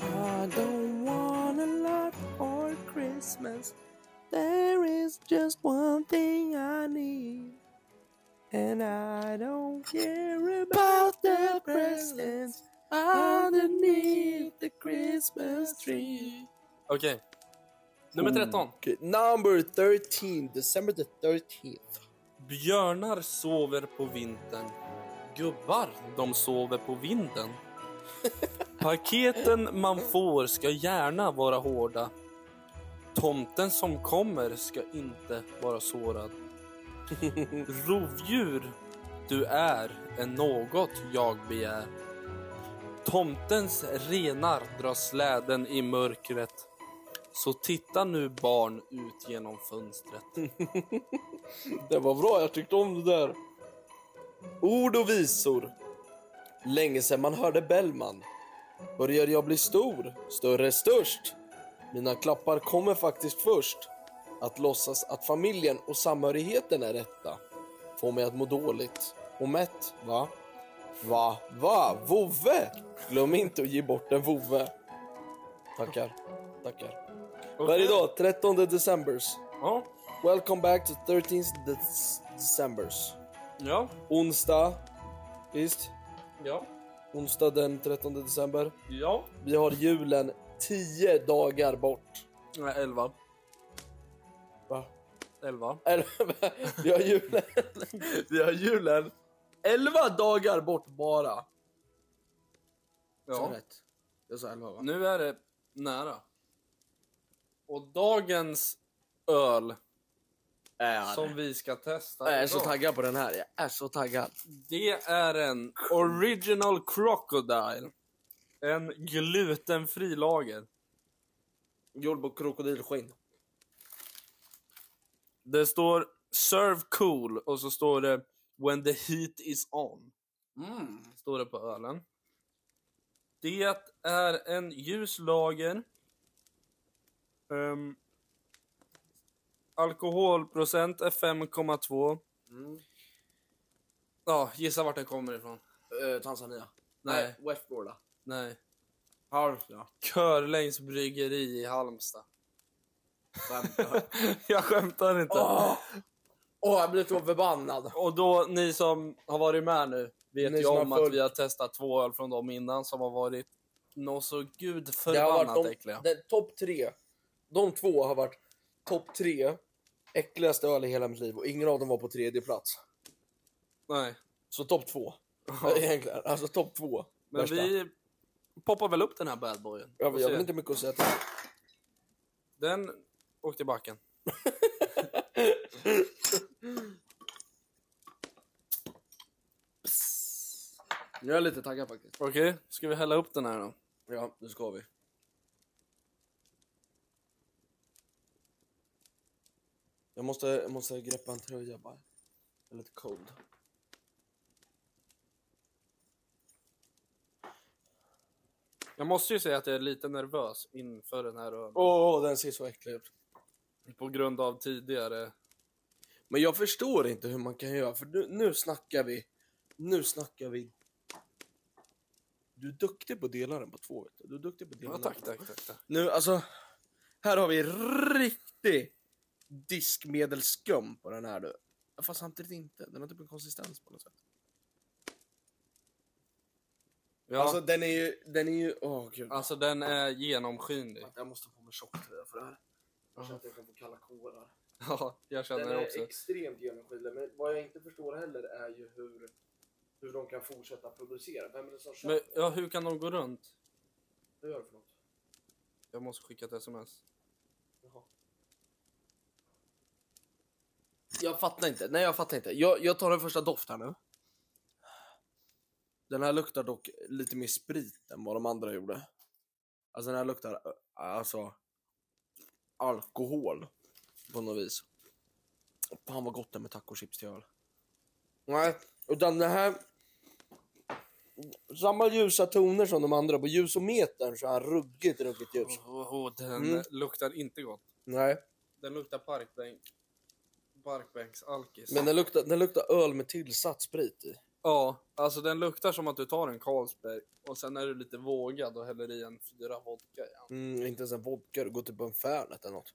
I don't want a lot for Christmas. There is just one thing I need. And I don't care about the presents underneath the Christmas tree. Okej. Nummer 13. Okay, number 13, December the 13th. Björnar sover på vintern. Gubbar, de sover på vinden. Paketen man får ska gärna vara hårda. Tomten som kommer ska inte vara sårad. Rovdjur, du är än något jag begär. Tomtens renar drar släden i mörkret. Så titta nu barn ut genom fönstret. Det var bra, jag tyckte om det där. Ord och visor. Länge sedan man hörde Bellman. Börjar jag bli stor, större, störst? Mina klappar kommer faktiskt först. Att låtsas att familjen och samhörigheten är rätta får mig att må dåligt och mätt, va? Va? Va? Vovve? Glöm inte att ge bort en vovve. Tackar. Tackar. Varje dag, 13 decembers. Ja. Welcome back to 13th de- Decembers. Ja. Onsdag. Visst? Ja. Onsdag den 13 december. Ja. Vi har julen 10 dagar bort. Nej, 11. Va? 11. Eller, vi har julen... Vi har julen 11 dagar bort bara. Sa jag Ja. rätt? Jag sa 11 va? Nu är det nära. Och dagens öl Äh, som vi ska testa jag är idag, så taggad på den här. Jag är så taggad. det är en Original Crocodile. En glutenfri lager. Gjord på krokodilskinn. Det står “Serve cool” och så står det “When the heat is on”. Står det på ölen. Det är en ljus lager. Ehm, alkoholprocent är 5,2. Mm. Ja, gissa vart den kommer ifrån. Eh, Tanzania. Nej. Westgårda. Nej. Halmstad. Körlängs bryggeri i Halmstad. Skämtar. Jag skämtar inte. Åh, Åh, jag blir så förbannad. Och då, ni som har varit med nu, vet Ni ju som har om att följt. vi har testat två öl från dem innan som har varit nå så Det har gudförbannat varit de, äckliga. den topp tre. De två har varit topp tre äckligaste öl i hela mitt liv och ingen av dem var på tredje plats. Nej. Så topp två. Egentligen, alltså topp två. Men Värsta. vi poppar väl upp den här badboyen. Jag, jag har inte mycket att säga till. Den åkte i backen. Jag är lite taggad faktiskt. Okej, ska vi hälla upp den här då? Ja, nu ska vi. Jag måste, jag måste greppa en tröja bara. Jag är lite cold. Jag måste ju säga att jag är lite nervös inför den här ölen. Åh, den ser så äcklig ut. På grund av tidigare... Men jag förstår inte hur man kan göra, för nu, nu snackar vi... Nu snackar vi... Du är duktig på att dela den på två, vet du. Du är duktig på att dela Ja, den tack, på tack, tack. tack. Nu, alltså... Här har vi riktig diskmedelsskum på den här du. Fast samtidigt inte. Den har typ en konsistens på något sätt. Ja, Alltså alltså, den är ju... Den är ju... Åh gud. den är genomskinlig. Jag måste få mig tjocktröja för det här. Jag känner att jag kan få kalla kårar. Ja, jag känner Den det är också. extremt genomskinlig, men vad jag inte förstår heller är ju hur, hur de kan fortsätta producera. Vem är det som köper? Men, ja, hur kan de gå runt? Vad gör det för något? Jag måste skicka ett sms. Jaha. Jag fattar inte. Nej, jag fattar inte. Jag, jag tar den första doften nu. Den här luktar dock lite mer sprit än vad de andra gjorde. Alltså den här luktar ö, alltså alkohol på något vis. Fan vad gott det är med tacochips till öl. Nej, utan det här... Samma ljusa toner som de andra. På ljusometern så är han ruggigt, ruggigt ljus. Åh, den Mm. luktar inte gott. Nej. Den luktar parkbänk. Barkbänksalkis. Men den luktar, den luktar öl med tillsatt sprit i. Ja, alltså den luktar som att du tar en Carlsberg och sen är du lite vågad och häller i en fyra vodka igen. Mm, inte ens en vodka, du går typ på en Fernet eller något.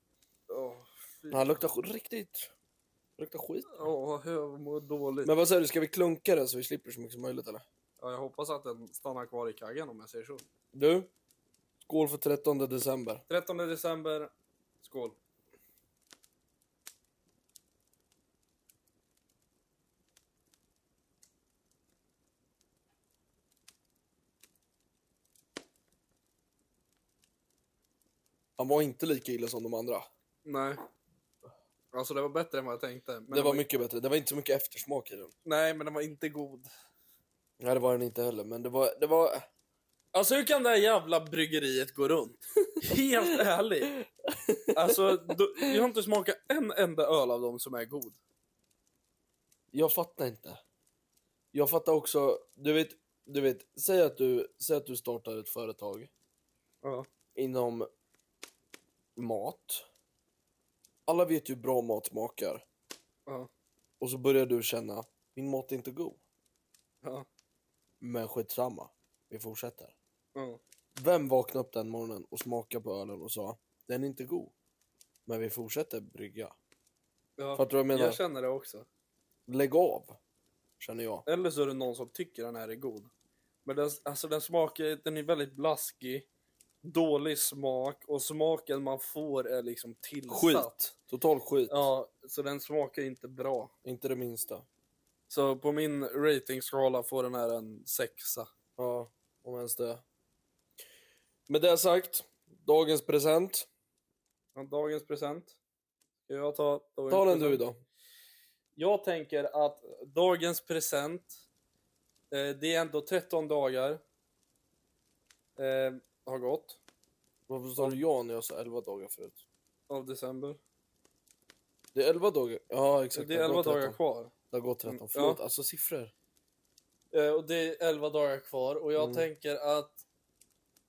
Åh, fy. Men han luktar sk- riktigt... Luktar skit. Åh, jag mår dåligt. Men vad säger du, ska vi klunka den så vi slipper så mycket som möjligt eller? Ja, jag hoppas att den stannar kvar i kaggen om jag säger så. Du? Skål för 13 december. 13 december. Skål. Han var inte lika illa som de andra. Nej. Alltså det var bättre än vad jag tänkte. Men det den var mycket bättre. Det var inte så mycket eftersmak i den. Nej, men den var inte god. Nej, det var den inte heller, men det var... Det var... Alltså hur kan det här jävla bryggeriet gå runt? Helt ärligt. Alltså, då, jag har inte smakat en enda öl av dem som är god. Jag fattar inte. Jag fattar också... Du vet, du vet säg, att du, säg att du startar ett företag Ja. inom mat. Alla vet ju hur bra mat smakar. Ja. Och så börjar du känna, min mat är inte god. Ja. Men skitsamma, vi fortsätter. Ja. Vem vaknade upp den morgonen och smakade på ölen och sa, den är inte god. Men vi fortsätter brygga. ja. Fattar du vad jag menar? Jag känner det också. Lägg av, känner jag. Eller så är det någon som tycker den här är god. Men den, alltså den smakar, den är väldigt blaskig. Dålig smak och smaken man får är liksom tillsatt. Skit. Total skit. Ja, så den smakar inte bra. Inte det minsta. Så på min ratingskala får den här en sexa. Ja, om ens det. Med det sagt, dagens present. Ja, Dagens present. Ska jag ta dagens Ta den present? du idag. Jag tänker att dagens present, eh, det är ändå 13 dagar eh, har gått Varför sa du ja när jag sa 11 dagar förut? av december. Det är 11 dagar. Ja, exakt. det är har 11 gått dagar 13. kvar. Det har gått 13. Mm, Förlåt, ja. alltså siffror. Eh, och det är 11 dagar kvar och jag Mm. tänker att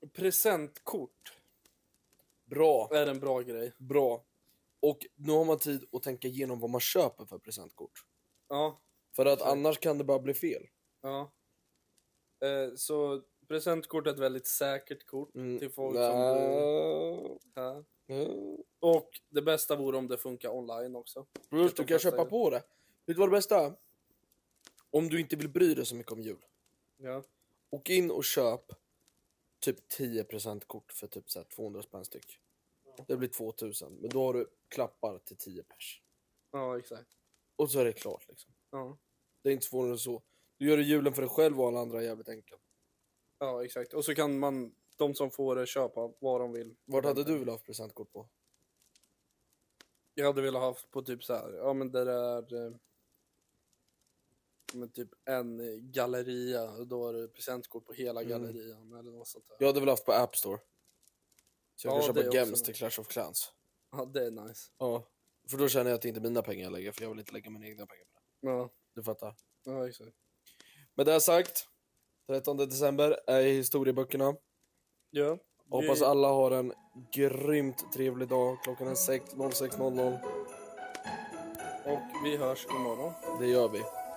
presentkort Bra, är en bra grej. bra. Och nu har man tid att tänka igenom vad man köper för presentkort. Ja, För att Exakt. annars kan det bara bli fel. ja. Eh, så presentkort är ett väldigt säkert kort Mm. till folk som bor Nä. här. Mm. Och det bästa vore om det funkar online också. Bror, du de kan flesta köpa gör. på det. Vet du vad det bästa är? Om du inte vill bry dig så mycket om jul. Ja. Åk in och köp typ 10 presentkort för typ så här 200 spänn styck. Det blir 2000, men då har du klappar till 10 pers. Ja, exakt. Och så är det klart liksom. Ja. Det är inte svårare än så. Du gör det julen för dig själv och alla andra jävligt enkelt. ja, exakt. Och så kan man, de som får det, köpa vad de vill. Vart hade du velat ha presentkort på? Jag hade velat haft på typ så här, ja men där är eh, men typ en galleria, och då är det presentkort på hela Mm. gallerian eller något sånt där. Ja. Jag hade velat haft på App Store. Så jag Ja, kan det köpa också. Gems till Clash of Clans. det är nice. Ja. För då känner jag att det inte är mina pengar jag lägger, för jag vill inte lägga mina egna pengar på det. Ja, Du fattar? ja exakt. Med det sagt, 13 december är i historieböckerna. Ja. Hoppas vi- alla har en grymt trevlig dag. Klockan är 06.00. Och vi hörs imorgon. Det gör vi.